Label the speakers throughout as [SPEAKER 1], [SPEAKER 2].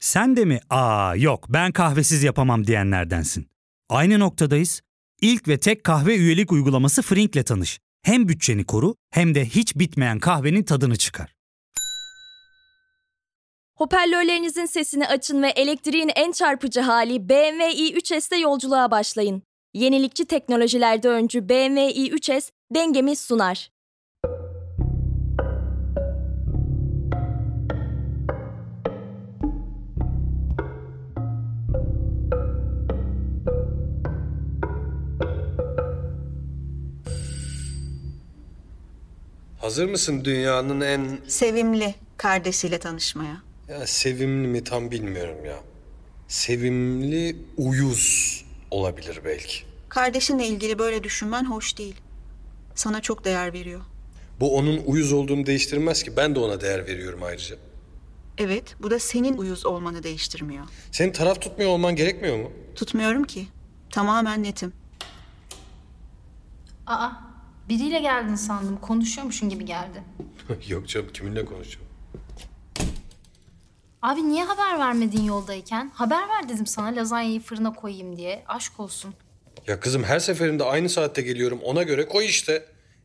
[SPEAKER 1] Sen de mi aa yok ben kahvesiz yapamam diyenlerdensin. Aynı noktadayız. İlk ve tek kahve üyelik uygulaması Frink'le tanış. Hem bütçeni koru hem de hiç bitmeyen kahvenin tadını çıkar.
[SPEAKER 2] Hoparlörlerinizin sesini açın ve elektriğin en çarpıcı hali BMW i3s'te yolculuğa başlayın. Yenilikçi teknolojilerde öncü BMW i3s dengemi sunar.
[SPEAKER 3] Hazır mısın dünyanın en
[SPEAKER 4] Sevimli kardeşiyle tanışmaya.
[SPEAKER 3] ya sevimli mi tam bilmiyorum ya. Sevimli uyuz olabilir belki.
[SPEAKER 4] Kardeşinle ilgili böyle düşünmen hoş değil. Sana çok değer veriyor.
[SPEAKER 3] Bu onun uyuz olduğunu değiştirmez ki. Ben de ona değer veriyorum ayrıca.
[SPEAKER 4] Evet, bu da senin uyuz olmanı değiştirmiyor.
[SPEAKER 3] Senin taraf tutmuyor olman gerekmiyor mu?
[SPEAKER 4] Tutmuyorum ki. Tamamen netim.
[SPEAKER 5] Aa, biriyle geldin sandım. Konuşuyormuşsun gibi geldi.
[SPEAKER 3] Yok canım kiminle konuşacağım?
[SPEAKER 5] Abi niye haber vermedin yoldayken? Haber ver dedim sana lazanyayı fırına koyayım diye. Aşk olsun.
[SPEAKER 3] Ya kızım her seferinde aynı saatte geliyorum ona göre koy işte.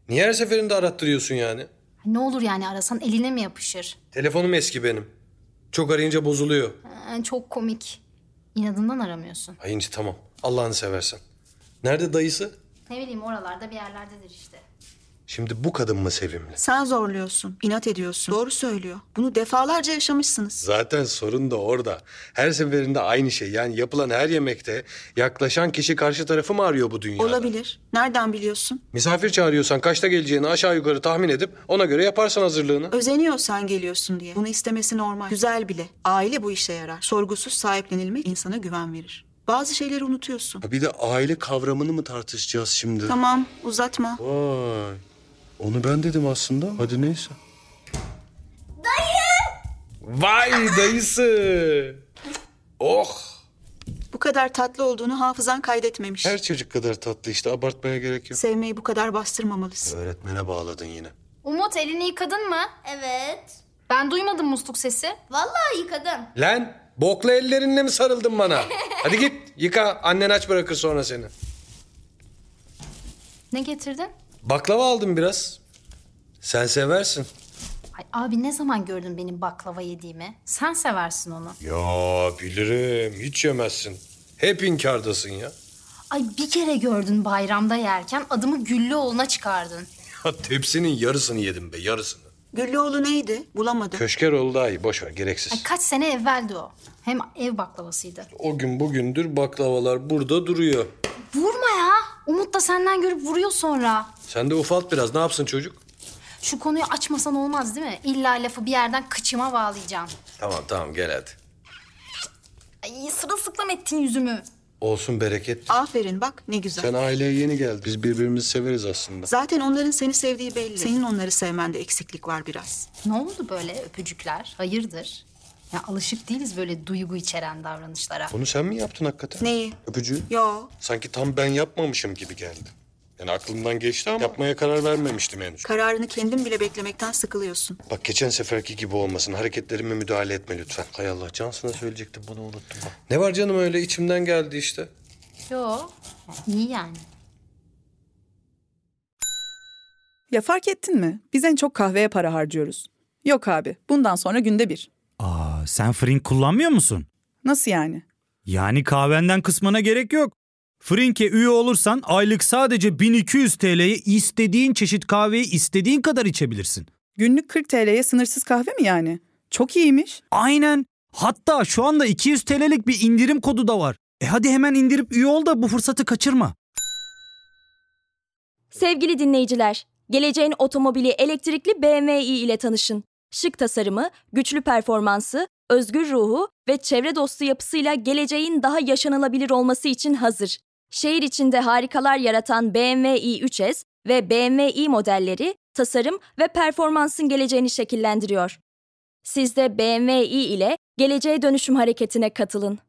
[SPEAKER 3] Niye her seferinde arattırıyorsun yani?
[SPEAKER 5] Ne olur yani arasan eline mi yapışır?
[SPEAKER 3] Telefonum eski benim. Çok arayınca bozuluyor.
[SPEAKER 5] Ee, çok komik. İnadından aramıyorsun.
[SPEAKER 3] Ayınca tamam. Allah'ını seversen. Nerede dayısı?
[SPEAKER 5] Ne bileyim oralarda bir yerlerdedir işte.
[SPEAKER 3] Şimdi bu kadın mı sevimli?
[SPEAKER 4] Sen zorluyorsun, inat ediyorsun. Doğru söylüyor. Bunu defalarca yaşamışsınız.
[SPEAKER 3] Zaten sorun da orada. Her seferinde aynı şey. Yani yapılan her yemekte yaklaşan kişi karşı tarafı mı arıyor bu dünyada?
[SPEAKER 4] Olabilir. Nereden biliyorsun?
[SPEAKER 3] Misafir çağırıyorsan kaçta geleceğini aşağı yukarı tahmin edip ona göre yaparsan hazırlığını.
[SPEAKER 4] Özeniyorsan geliyorsun diye. Bunu istemesi normal. Güzel bile. Aile bu işe yarar. Sorgusuz sahiplenilmek insana güven verir. Bazı şeyleri unutuyorsun.
[SPEAKER 3] Bir de aile kavramını mı tartışacağız şimdi?
[SPEAKER 4] Tamam, uzatma.
[SPEAKER 3] Vay. Onu ben dedim aslında. Hadi neyse. Dayı! Vay dayısı! Oh!
[SPEAKER 4] Bu kadar tatlı olduğunu hafızan kaydetmemiş.
[SPEAKER 3] Her çocuk kadar tatlı işte abartmaya gerek yok.
[SPEAKER 4] Sevmeyi bu kadar bastırmamalısın.
[SPEAKER 3] Öğretmene bağladın yine.
[SPEAKER 5] Umut elini yıkadın mı?
[SPEAKER 6] Evet.
[SPEAKER 5] Ben duymadım musluk sesi.
[SPEAKER 6] Vallahi yıkadım.
[SPEAKER 3] Lan bokla ellerinle mi sarıldın bana? Hadi git yıka annen aç bırakır sonra seni.
[SPEAKER 5] Ne getirdin?
[SPEAKER 3] Baklava aldım biraz. Sen seversin.
[SPEAKER 5] Ay abi ne zaman gördün benim baklava yediğimi? Sen seversin onu.
[SPEAKER 3] Ya bilirim hiç yemezsin. Hep inkardasın ya.
[SPEAKER 5] Ay bir kere gördün bayramda yerken adımı Güllüoğlu'na çıkardın.
[SPEAKER 3] Ya tepsinin yarısını yedim be yarısını.
[SPEAKER 4] Güllüoğlu neydi? Bulamadım.
[SPEAKER 3] Köşkeroğlu daha iyi boş ver
[SPEAKER 5] Ay
[SPEAKER 3] gereksiz.
[SPEAKER 5] kaç sene evveldi o. Hem ev baklavasıydı.
[SPEAKER 3] O gün bugündür baklavalar burada duruyor.
[SPEAKER 5] Vurma ya. Umut da senden görüp vuruyor sonra.
[SPEAKER 3] Sen de ufalt biraz ne yapsın çocuk?
[SPEAKER 5] Şu konuyu açmasan olmaz değil mi? İlla lafı bir yerden kıçıma bağlayacağım.
[SPEAKER 3] Tamam tamam gel hadi.
[SPEAKER 5] Ay sırılsıklam ettin yüzümü.
[SPEAKER 3] Olsun bereket.
[SPEAKER 4] Aferin bak ne güzel.
[SPEAKER 3] Sen aileye yeni geldin. Biz birbirimizi severiz aslında.
[SPEAKER 4] Zaten onların seni sevdiği belli. Senin onları sevmende eksiklik var biraz.
[SPEAKER 5] Ne oldu böyle öpücükler? Hayırdır? Ya alışık değiliz böyle duygu içeren davranışlara.
[SPEAKER 3] Bunu sen mi yaptın hakikaten?
[SPEAKER 4] Neyi?
[SPEAKER 3] Öpücüğü.
[SPEAKER 4] Yo,
[SPEAKER 3] Sanki tam ben yapmamışım gibi geldi. Yani aklımdan geçti ama yapmaya karar vermemiştim henüz.
[SPEAKER 4] kararını kendin bile beklemekten sıkılıyorsun.
[SPEAKER 3] Bak geçen seferki gibi olmasın. Hareketlerime müdahale etme lütfen. Hay Allah Cansın'a söyleyecektim bunu unuttum. Ne var canım öyle içimden geldi işte.
[SPEAKER 5] Yo. iyi yani.
[SPEAKER 7] Ya fark ettin mi? Biz en çok kahveye para harcıyoruz. Yok abi, bundan sonra günde bir.
[SPEAKER 1] Aa sen Frink kullanmıyor musun?
[SPEAKER 7] Nasıl yani?
[SPEAKER 1] Yani kahvenden kısmına gerek yok. Frink'e üye olursan aylık sadece 1200 TL'ye istediğin çeşit kahveyi istediğin kadar içebilirsin.
[SPEAKER 7] Günlük 40 TL'ye sınırsız kahve mi yani? Çok iyiymiş.
[SPEAKER 1] Aynen. Hatta şu anda 200 TL'lik bir indirim kodu da var. E hadi hemen indirip üye ol da bu fırsatı kaçırma.
[SPEAKER 2] Sevgili dinleyiciler, geleceğin otomobili elektrikli BMW i ile tanışın. Şık tasarımı, güçlü performansı, özgür ruhu ve çevre dostu yapısıyla geleceğin daha yaşanılabilir olması için hazır. Şehir içinde harikalar yaratan BMW i3s ve BMW i modelleri tasarım ve performansın geleceğini şekillendiriyor. Siz de BMW i ile geleceğe dönüşüm hareketine katılın.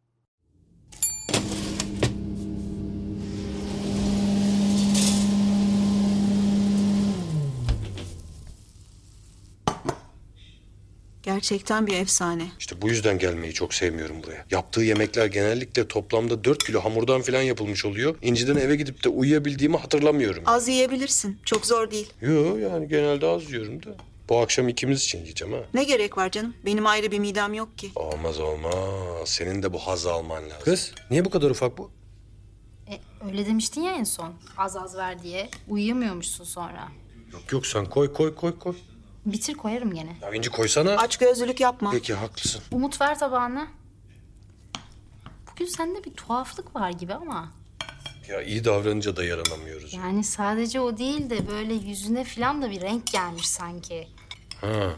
[SPEAKER 4] Gel Gerçekten bir efsane.
[SPEAKER 3] İşte bu yüzden gelmeyi çok sevmiyorum buraya. Yaptığı yemekler genellikle toplamda 4 kilo hamurdan falan yapılmış oluyor. İnciden eve gidip de uyuyabildiğimi hatırlamıyorum.
[SPEAKER 4] Az yiyebilirsin. Çok zor değil.
[SPEAKER 3] Yo yani genelde az yiyorum da. Bu akşam ikimiz için yiyeceğim ha.
[SPEAKER 4] Ne gerek var canım? Benim ayrı bir midem yok ki.
[SPEAKER 3] Olmaz olmaz. Senin de bu haz alman lazım. Kız niye bu kadar ufak bu?
[SPEAKER 5] E, öyle demiştin ya en son. Az az ver diye. Uyuyamıyormuşsun sonra.
[SPEAKER 3] Yok yok sen koy koy koy koy.
[SPEAKER 5] Bitir koyarım gene.
[SPEAKER 3] Ya İnci koysana.
[SPEAKER 4] Aç gözlülük yapma.
[SPEAKER 3] Peki haklısın.
[SPEAKER 5] Umut ver tabağını. Bugün sende bir tuhaflık var gibi ama.
[SPEAKER 3] Ya iyi davranınca da yaranamıyoruz.
[SPEAKER 5] Yani sadece o değil de böyle yüzüne filan da bir renk gelmiş sanki.
[SPEAKER 3] Ha.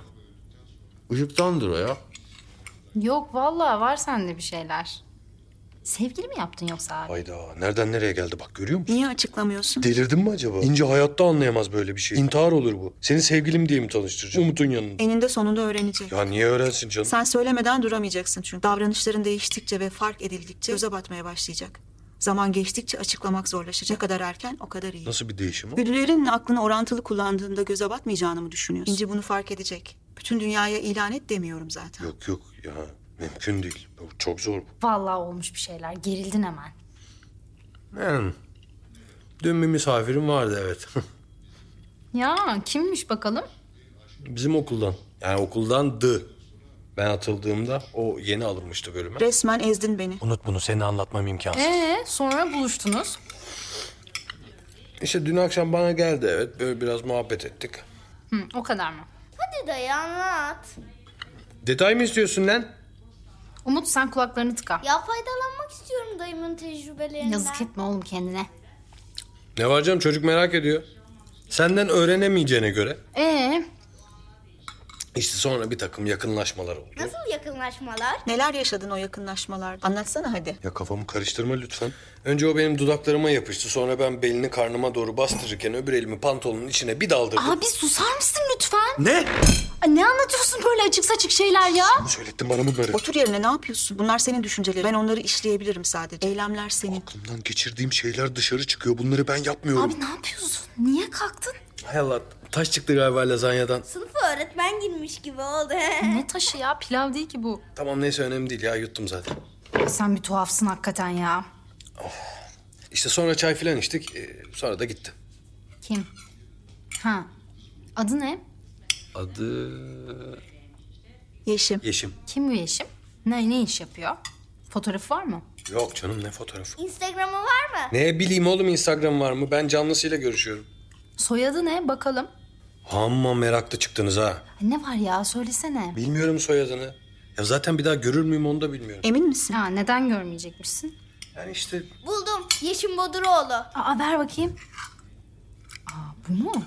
[SPEAKER 3] Işıktandır o ya.
[SPEAKER 5] Yok vallahi var sende bir şeyler. Sevgili mi yaptın yoksa abi?
[SPEAKER 3] Hayda nereden nereye geldi bak görüyor musun?
[SPEAKER 4] Niye açıklamıyorsun?
[SPEAKER 3] Delirdin mi acaba? İnci hayatta anlayamaz böyle bir şey. İntihar olur bu. Seni sevgilim diye mi tanıştıracağım? Umut'un yanında.
[SPEAKER 4] Eninde sonunda öğrenecek.
[SPEAKER 3] Ya niye öğrensin canım?
[SPEAKER 4] Sen söylemeden duramayacaksın çünkü. Davranışların değiştikçe ve fark edildikçe göze batmaya başlayacak. Zaman geçtikçe açıklamak zorlaşacak. Ne kadar erken o kadar iyi.
[SPEAKER 3] Nasıl bir değişim o?
[SPEAKER 4] Güdülerin aklını orantılı kullandığında göze batmayacağını mı düşünüyorsun? İnci bunu fark edecek. Bütün dünyaya ilan et demiyorum zaten.
[SPEAKER 3] Yok yok ya mümkün değil. Bu Çok zor bu.
[SPEAKER 5] Vallahi olmuş bir şeyler. Gerildin hemen.
[SPEAKER 3] Hmm. Dün bir misafirim vardı evet.
[SPEAKER 5] Ya kimmiş bakalım?
[SPEAKER 3] Bizim okuldan. Yani okuldandı. Ben atıldığımda o yeni alınmıştı bölüme.
[SPEAKER 4] Resmen ezdin beni.
[SPEAKER 3] Unut bunu seni anlatmam imkansız.
[SPEAKER 5] Ee sonra buluştunuz.
[SPEAKER 3] İşte dün akşam bana geldi evet böyle biraz muhabbet ettik.
[SPEAKER 5] Hı, o kadar mı?
[SPEAKER 6] Hadi dayı anlat.
[SPEAKER 3] Detay mı istiyorsun lan?
[SPEAKER 5] Umut sen kulaklarını tıka.
[SPEAKER 6] Ya faydalanmak istiyorum dayımın tecrübelerinden.
[SPEAKER 5] Yazık etme oğlum kendine.
[SPEAKER 3] Ne var canım çocuk merak ediyor. Senden öğrenemeyeceğine göre
[SPEAKER 5] Ee
[SPEAKER 3] işte sonra bir takım yakınlaşmalar oldu.
[SPEAKER 6] Nasıl yakınlaşmalar?
[SPEAKER 4] Neler yaşadın o yakınlaşmalarda? Anlatsana hadi.
[SPEAKER 3] Ya kafamı karıştırma lütfen. Önce o benim dudaklarıma yapıştı. Sonra ben belini karnıma doğru bastırırken öbür elimi pantolonun içine bir daldırdım.
[SPEAKER 5] abi susar mısın lütfen?
[SPEAKER 3] Ne?
[SPEAKER 5] Ay, ne anlatıyorsun böyle açık saçık şeyler ya?
[SPEAKER 3] Söylettin bana bunları.
[SPEAKER 4] Otur yerine ne yapıyorsun? Bunlar senin düşüncelerin. Ben onları işleyebilirim sadece. Eylemler senin.
[SPEAKER 3] Aklımdan geçirdiğim şeyler dışarı çıkıyor. Bunları ben yapmıyorum.
[SPEAKER 5] Abi ne yapıyorsun? Niye kalktın?
[SPEAKER 3] Hay Allah taş çıktı galiba lazanyadan.
[SPEAKER 6] Sınıfa öğretmen girmiş gibi oldu.
[SPEAKER 5] Ne taşı ya? Pilav değil ki bu.
[SPEAKER 3] Tamam neyse önemli değil ya yuttum zaten.
[SPEAKER 5] Sen bir tuhafsın hakikaten ya.
[SPEAKER 3] İşte sonra çay filan içtik. ee, sonra da gitti.
[SPEAKER 5] Kim? Ha. Adı ne?
[SPEAKER 3] Adı
[SPEAKER 4] Yeşim.
[SPEAKER 3] Yeşim.
[SPEAKER 5] Kim bu Yeşim? Ne, ne iş yapıyor? Fotoğrafı var mı?
[SPEAKER 3] Yok canım ne fotoğrafı?
[SPEAKER 6] Instagram'ı var mı?
[SPEAKER 3] Ne bileyim oğlum Instagram var mı? Ben canlısıyla görüşüyorum.
[SPEAKER 5] Soyadı ne? Bakalım.
[SPEAKER 3] Amma meraklı çıktınız ha.
[SPEAKER 5] Ay, Ne var ya? Söylesene.
[SPEAKER 3] Bilmiyorum soyadını. Ya zaten bir daha görür müyüm onu da bilmiyorum.
[SPEAKER 4] Emin misin?
[SPEAKER 5] Ha, neden görmeyecekmişsin?
[SPEAKER 3] Yani işte
[SPEAKER 6] Buldum. Yeşim Boduroğlu.
[SPEAKER 5] Aa, ver bakayım. Aa, bu mu?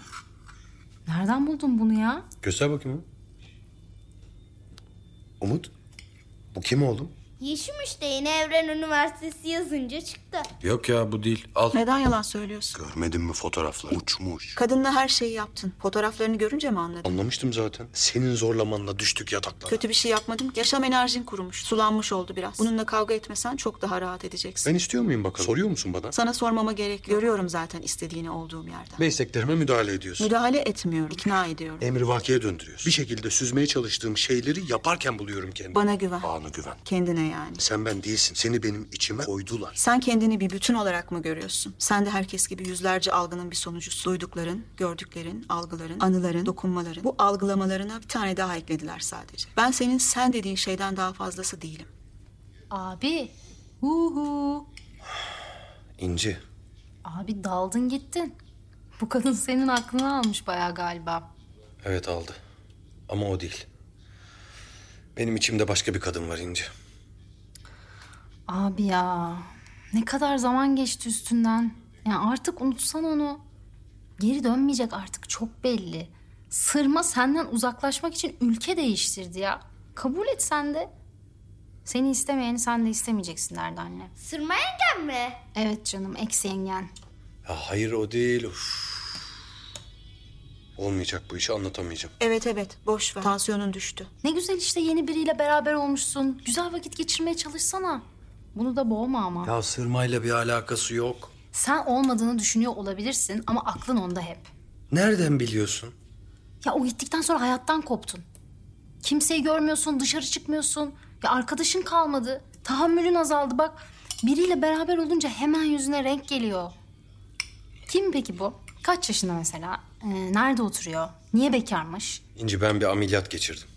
[SPEAKER 5] Nereden buldun bunu ya?
[SPEAKER 3] göster bakayım. Umut. Bu kim oğlum?
[SPEAKER 6] Yeşim işte yine Evren Üniversitesi yazınca çıktı.
[SPEAKER 3] Yok ya bu değil. Al.
[SPEAKER 4] Neden yalan söylüyorsun?
[SPEAKER 3] Görmedin mi fotoğrafları? Uçmuş.
[SPEAKER 4] Kadınla her şeyi yaptın. Fotoğraflarını görünce mi anladın?
[SPEAKER 3] Anlamıştım zaten. Senin zorlamanla düştük yataklara.
[SPEAKER 4] Kötü bir şey yapmadım ki. Yaşam enerjin kurumuş. Sulanmış oldu biraz. Bununla kavga etmesen çok daha rahat edeceksin.
[SPEAKER 3] Ben istiyor muyum bakalım? Soruyor musun bana?
[SPEAKER 4] Sana sormama gerek yok. Görüyorum zaten istediğini olduğum yerden.
[SPEAKER 3] Mesleklerime müdahale ediyorsun.
[SPEAKER 4] Müdahale etmiyorum. ikna ediyorum.
[SPEAKER 3] Emri vakiye döndürüyorsun. Bir şekilde süzmeye çalıştığım şeyleri yaparken buluyorum kendimi.
[SPEAKER 4] Bana güven.
[SPEAKER 3] Bana güven.
[SPEAKER 4] Kendine yani.
[SPEAKER 3] Sen ben değilsin. Seni benim içime koydular.
[SPEAKER 4] Sen kendini bir bütün olarak mı görüyorsun? Sen de herkes gibi yüzlerce algının bir sonucusun. Duydukların, gördüklerin, algıların, anıların, dokunmaların. Bu algılamalarına bir tane daha eklediler sadece. Ben senin sen dediğin şeyden daha fazlası değilim.
[SPEAKER 5] Abi. Uhu.
[SPEAKER 3] İnci.
[SPEAKER 5] Abi daldın gittin. Bu kadın senin aklını almış bayağı galiba.
[SPEAKER 3] Evet aldı. Ama o değil. Benim içimde başka bir kadın var İnci.
[SPEAKER 5] Abi ya. Ne kadar zaman geçti üstünden. Yani artık unutsan onu. Geri dönmeyecek artık çok belli. Sırma senden uzaklaşmak için ülke değiştirdi ya. Kabul et sen de. Seni istemeyeni sen de istemeyeceksin derdi anne.
[SPEAKER 6] Sırma yengem mi?
[SPEAKER 5] Evet canım ex yengen.
[SPEAKER 3] Ya hayır o değil. Uf. Olmayacak bu işi anlatamayacağım.
[SPEAKER 4] Evet evet boş ver. Tansiyonun düştü.
[SPEAKER 5] Ne güzel işte yeni biriyle beraber olmuşsun. Güzel vakit geçirmeye çalışsana. Bunu da boğma ama.
[SPEAKER 3] Ya sırmayla bir alakası yok.
[SPEAKER 5] Sen olmadığını düşünüyor olabilirsin ama aklın onda hep.
[SPEAKER 3] Nereden biliyorsun?
[SPEAKER 5] Ya o gittikten sonra hayattan koptun. Kimseyi görmüyorsun, dışarı çıkmıyorsun. Ya arkadaşın kalmadı. Tahammülün azaldı bak. Biriyle beraber olunca hemen yüzüne renk geliyor. Kim peki bu? Kaç yaşında mesela? Ee, nerede oturuyor? Niye bekarmış?
[SPEAKER 3] İnci ben bir ameliyat geçirdim.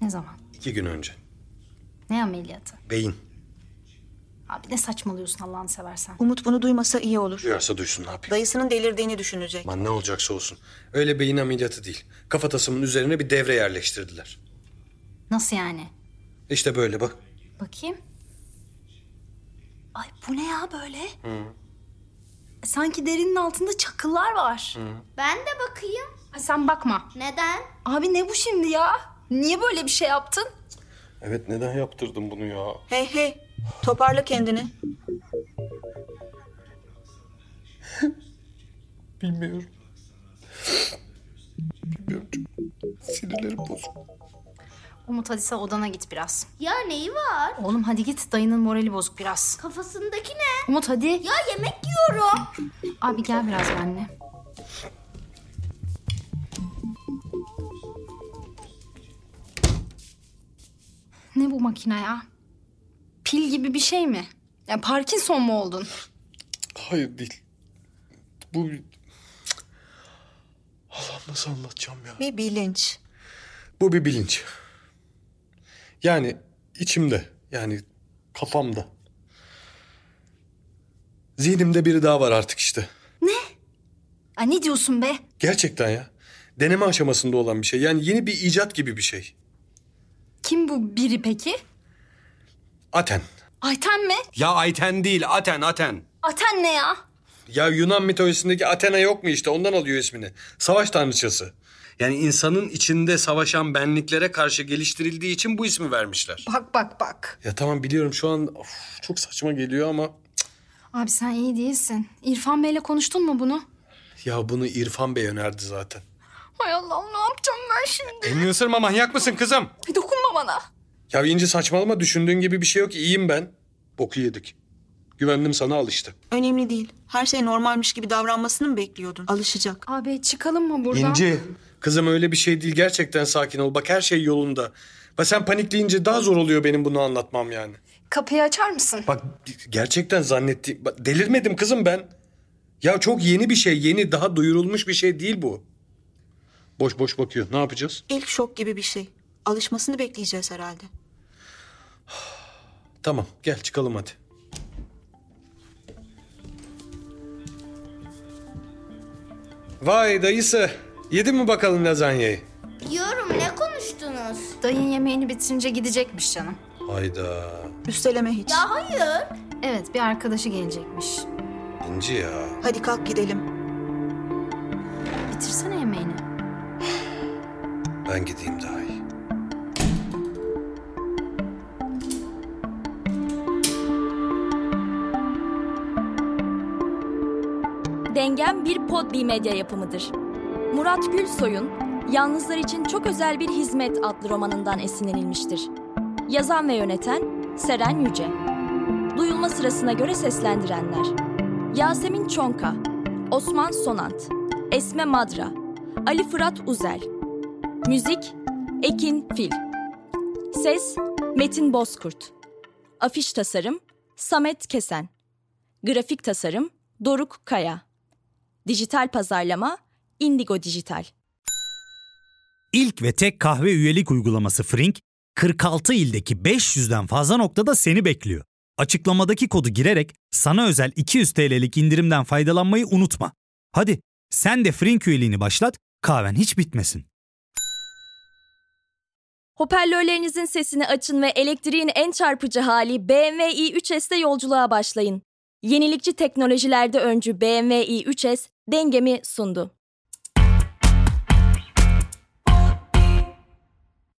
[SPEAKER 5] Ne zaman?
[SPEAKER 3] İki gün önce.
[SPEAKER 5] Ne ameliyatı?
[SPEAKER 3] Beyin.
[SPEAKER 5] Abi ne saçmalıyorsun Allah'ını seversen.
[SPEAKER 4] Umut bunu duymasa iyi olur.
[SPEAKER 3] Duyarsa duysun ne yapayım.
[SPEAKER 4] Dayısının delirdiğini düşünecek.
[SPEAKER 3] Aman ne olacaksa olsun. Öyle beyin ameliyatı değil. Kafatasımın üzerine bir devre yerleştirdiler.
[SPEAKER 5] Nasıl yani?
[SPEAKER 3] İşte böyle bak.
[SPEAKER 5] Bakayım. Ay bu ne ya böyle? Sanki derinin altında çakıllar var.
[SPEAKER 6] Ben de bakayım.
[SPEAKER 5] Ay sen bakma.
[SPEAKER 6] Neden?
[SPEAKER 5] Abi ne bu şimdi ya? Niye böyle bir şey yaptın?
[SPEAKER 3] Evet neden yaptırdım bunu ya?
[SPEAKER 4] Hey hey toparla kendini.
[SPEAKER 3] Bilmiyorum. Bilmiyorum çok sinirlerim bozuk.
[SPEAKER 5] Umut hadi sen odana git biraz.
[SPEAKER 6] Ya neyi var?
[SPEAKER 5] Oğlum hadi git dayının morali bozuk biraz.
[SPEAKER 6] Kafasındaki ne?
[SPEAKER 5] Umut hadi.
[SPEAKER 6] Ya yemek yiyorum.
[SPEAKER 5] Abi gel biraz benimle. Ne bu makine ya? Pil gibi bir şey mi? Ya Parkinson mu oldun?
[SPEAKER 3] Hayır değil. Bu... bir- Allah nasıl anlatacağım ya?
[SPEAKER 4] Bir bilinç.
[SPEAKER 3] Bu bir bilinç. Yani içimde. Yani kafamda. Zihnimde biri daha var artık işte.
[SPEAKER 5] Ya ne diyorsun be?
[SPEAKER 3] Gerçekten ya. Deneme aşamasında olan bir şey. Yani yeni bir icat gibi bir şey.
[SPEAKER 5] Kim bu biri peki?
[SPEAKER 3] Aten.
[SPEAKER 5] Ayten mi?
[SPEAKER 3] Ya Ayten değil Aten Aten.
[SPEAKER 5] Aten ne ya?
[SPEAKER 3] Ya Yunan mitolojisindeki Athena yok mu işte ondan alıyor ismini. Savaş tanrıçası. Yani insanın içinde savaşan benliklere karşı geliştirildiği için bu ismi vermişler.
[SPEAKER 5] Bak bak bak.
[SPEAKER 3] Ya tamam biliyorum şu an of, çok saçma geliyor ama...
[SPEAKER 5] Abi sen iyi değilsin. İrfan Bey'le konuştun mu bunu?
[SPEAKER 3] Ya bunu İrfan Bey önerdi zaten.
[SPEAKER 5] Hay Allah'ım ne yapacağım ben şimdi?
[SPEAKER 3] Elini ısırma manyak mısın kızım?
[SPEAKER 5] Ay, Dokunma bana.
[SPEAKER 3] Ya İnci saçmalama düşündüğün gibi bir şey yok iyiyim ben. Boku yedik. Güvendim sana al işte.
[SPEAKER 4] Önemli değil. Her şey normalmiş gibi davranmasını mı bekliyordun? Alışacak.
[SPEAKER 5] Abi çıkalım mı buradan?
[SPEAKER 3] Kızım öyle bir şey değil gerçekten sakin ol. Bak her şey yolunda. Ve sen panikleyince daha zor oluyor benim bunu anlatmam yani.
[SPEAKER 5] Kapıyı açar mısın?
[SPEAKER 3] Bak gerçekten zannettiğim... Bak, delirmedim kızım ben. Ya çok yeni bir şey, yeni daha duyurulmuş bir şey değil bu. Boş boş bakıyor. Ne yapacağız?
[SPEAKER 4] İlk şok gibi bir şey. Alışmasını bekleyeceğiz herhalde.
[SPEAKER 3] Tamam gel çıkalım hadi. Vay dayısı. Yedin mi bakalım lazanyayı?
[SPEAKER 6] Yiyorum ne konuştunuz?
[SPEAKER 5] Dayın yemeğini bitirince gidecekmiş canım.
[SPEAKER 3] Hayda.
[SPEAKER 4] Üsteleme hiç.
[SPEAKER 6] Ya hayır.
[SPEAKER 5] Evet bir arkadaşı gelecekmiş.
[SPEAKER 3] İnci ya.
[SPEAKER 4] Hadi kalk gidelim.
[SPEAKER 5] Bitirsene yemeğini.
[SPEAKER 3] Ben gideyim daha iyi.
[SPEAKER 2] Dengem bir Podbi medya yapımıdır. Murat Gülsoy'un Yalnızlar için Çok Özel Bir Hizmet adlı romanından esinlenilmiştir. Yazan ve yöneten Seren Yüce. Duyulma sırasına göre seslendirenler. Yasemin Çonka, Osman Sonant, Esme Madra, Ali Fırat Uzel. Müzik Ekin Fil. Ses Metin Bozkurt. Afiş tasarım Samet Kesen. Grafik tasarım Doruk Kaya. Dijital pazarlama Indigo Dijital.
[SPEAKER 1] İlk ve tek kahve üyelik uygulaması Frink, 46 ildeki 500'den fazla noktada seni bekliyor. Açıklamadaki kodu girerek sana özel 200 TL'lik indirimden faydalanmayı unutma. Hadi sen de Frink üyeliğini başlat, kahven hiç bitmesin.
[SPEAKER 2] Hoparlörlerinizin sesini açın ve elektriğin en çarpıcı hali BMW i3S'te yolculuğa başlayın. Yenilikçi teknolojilerde öncü BMW i3S dengemi sundu.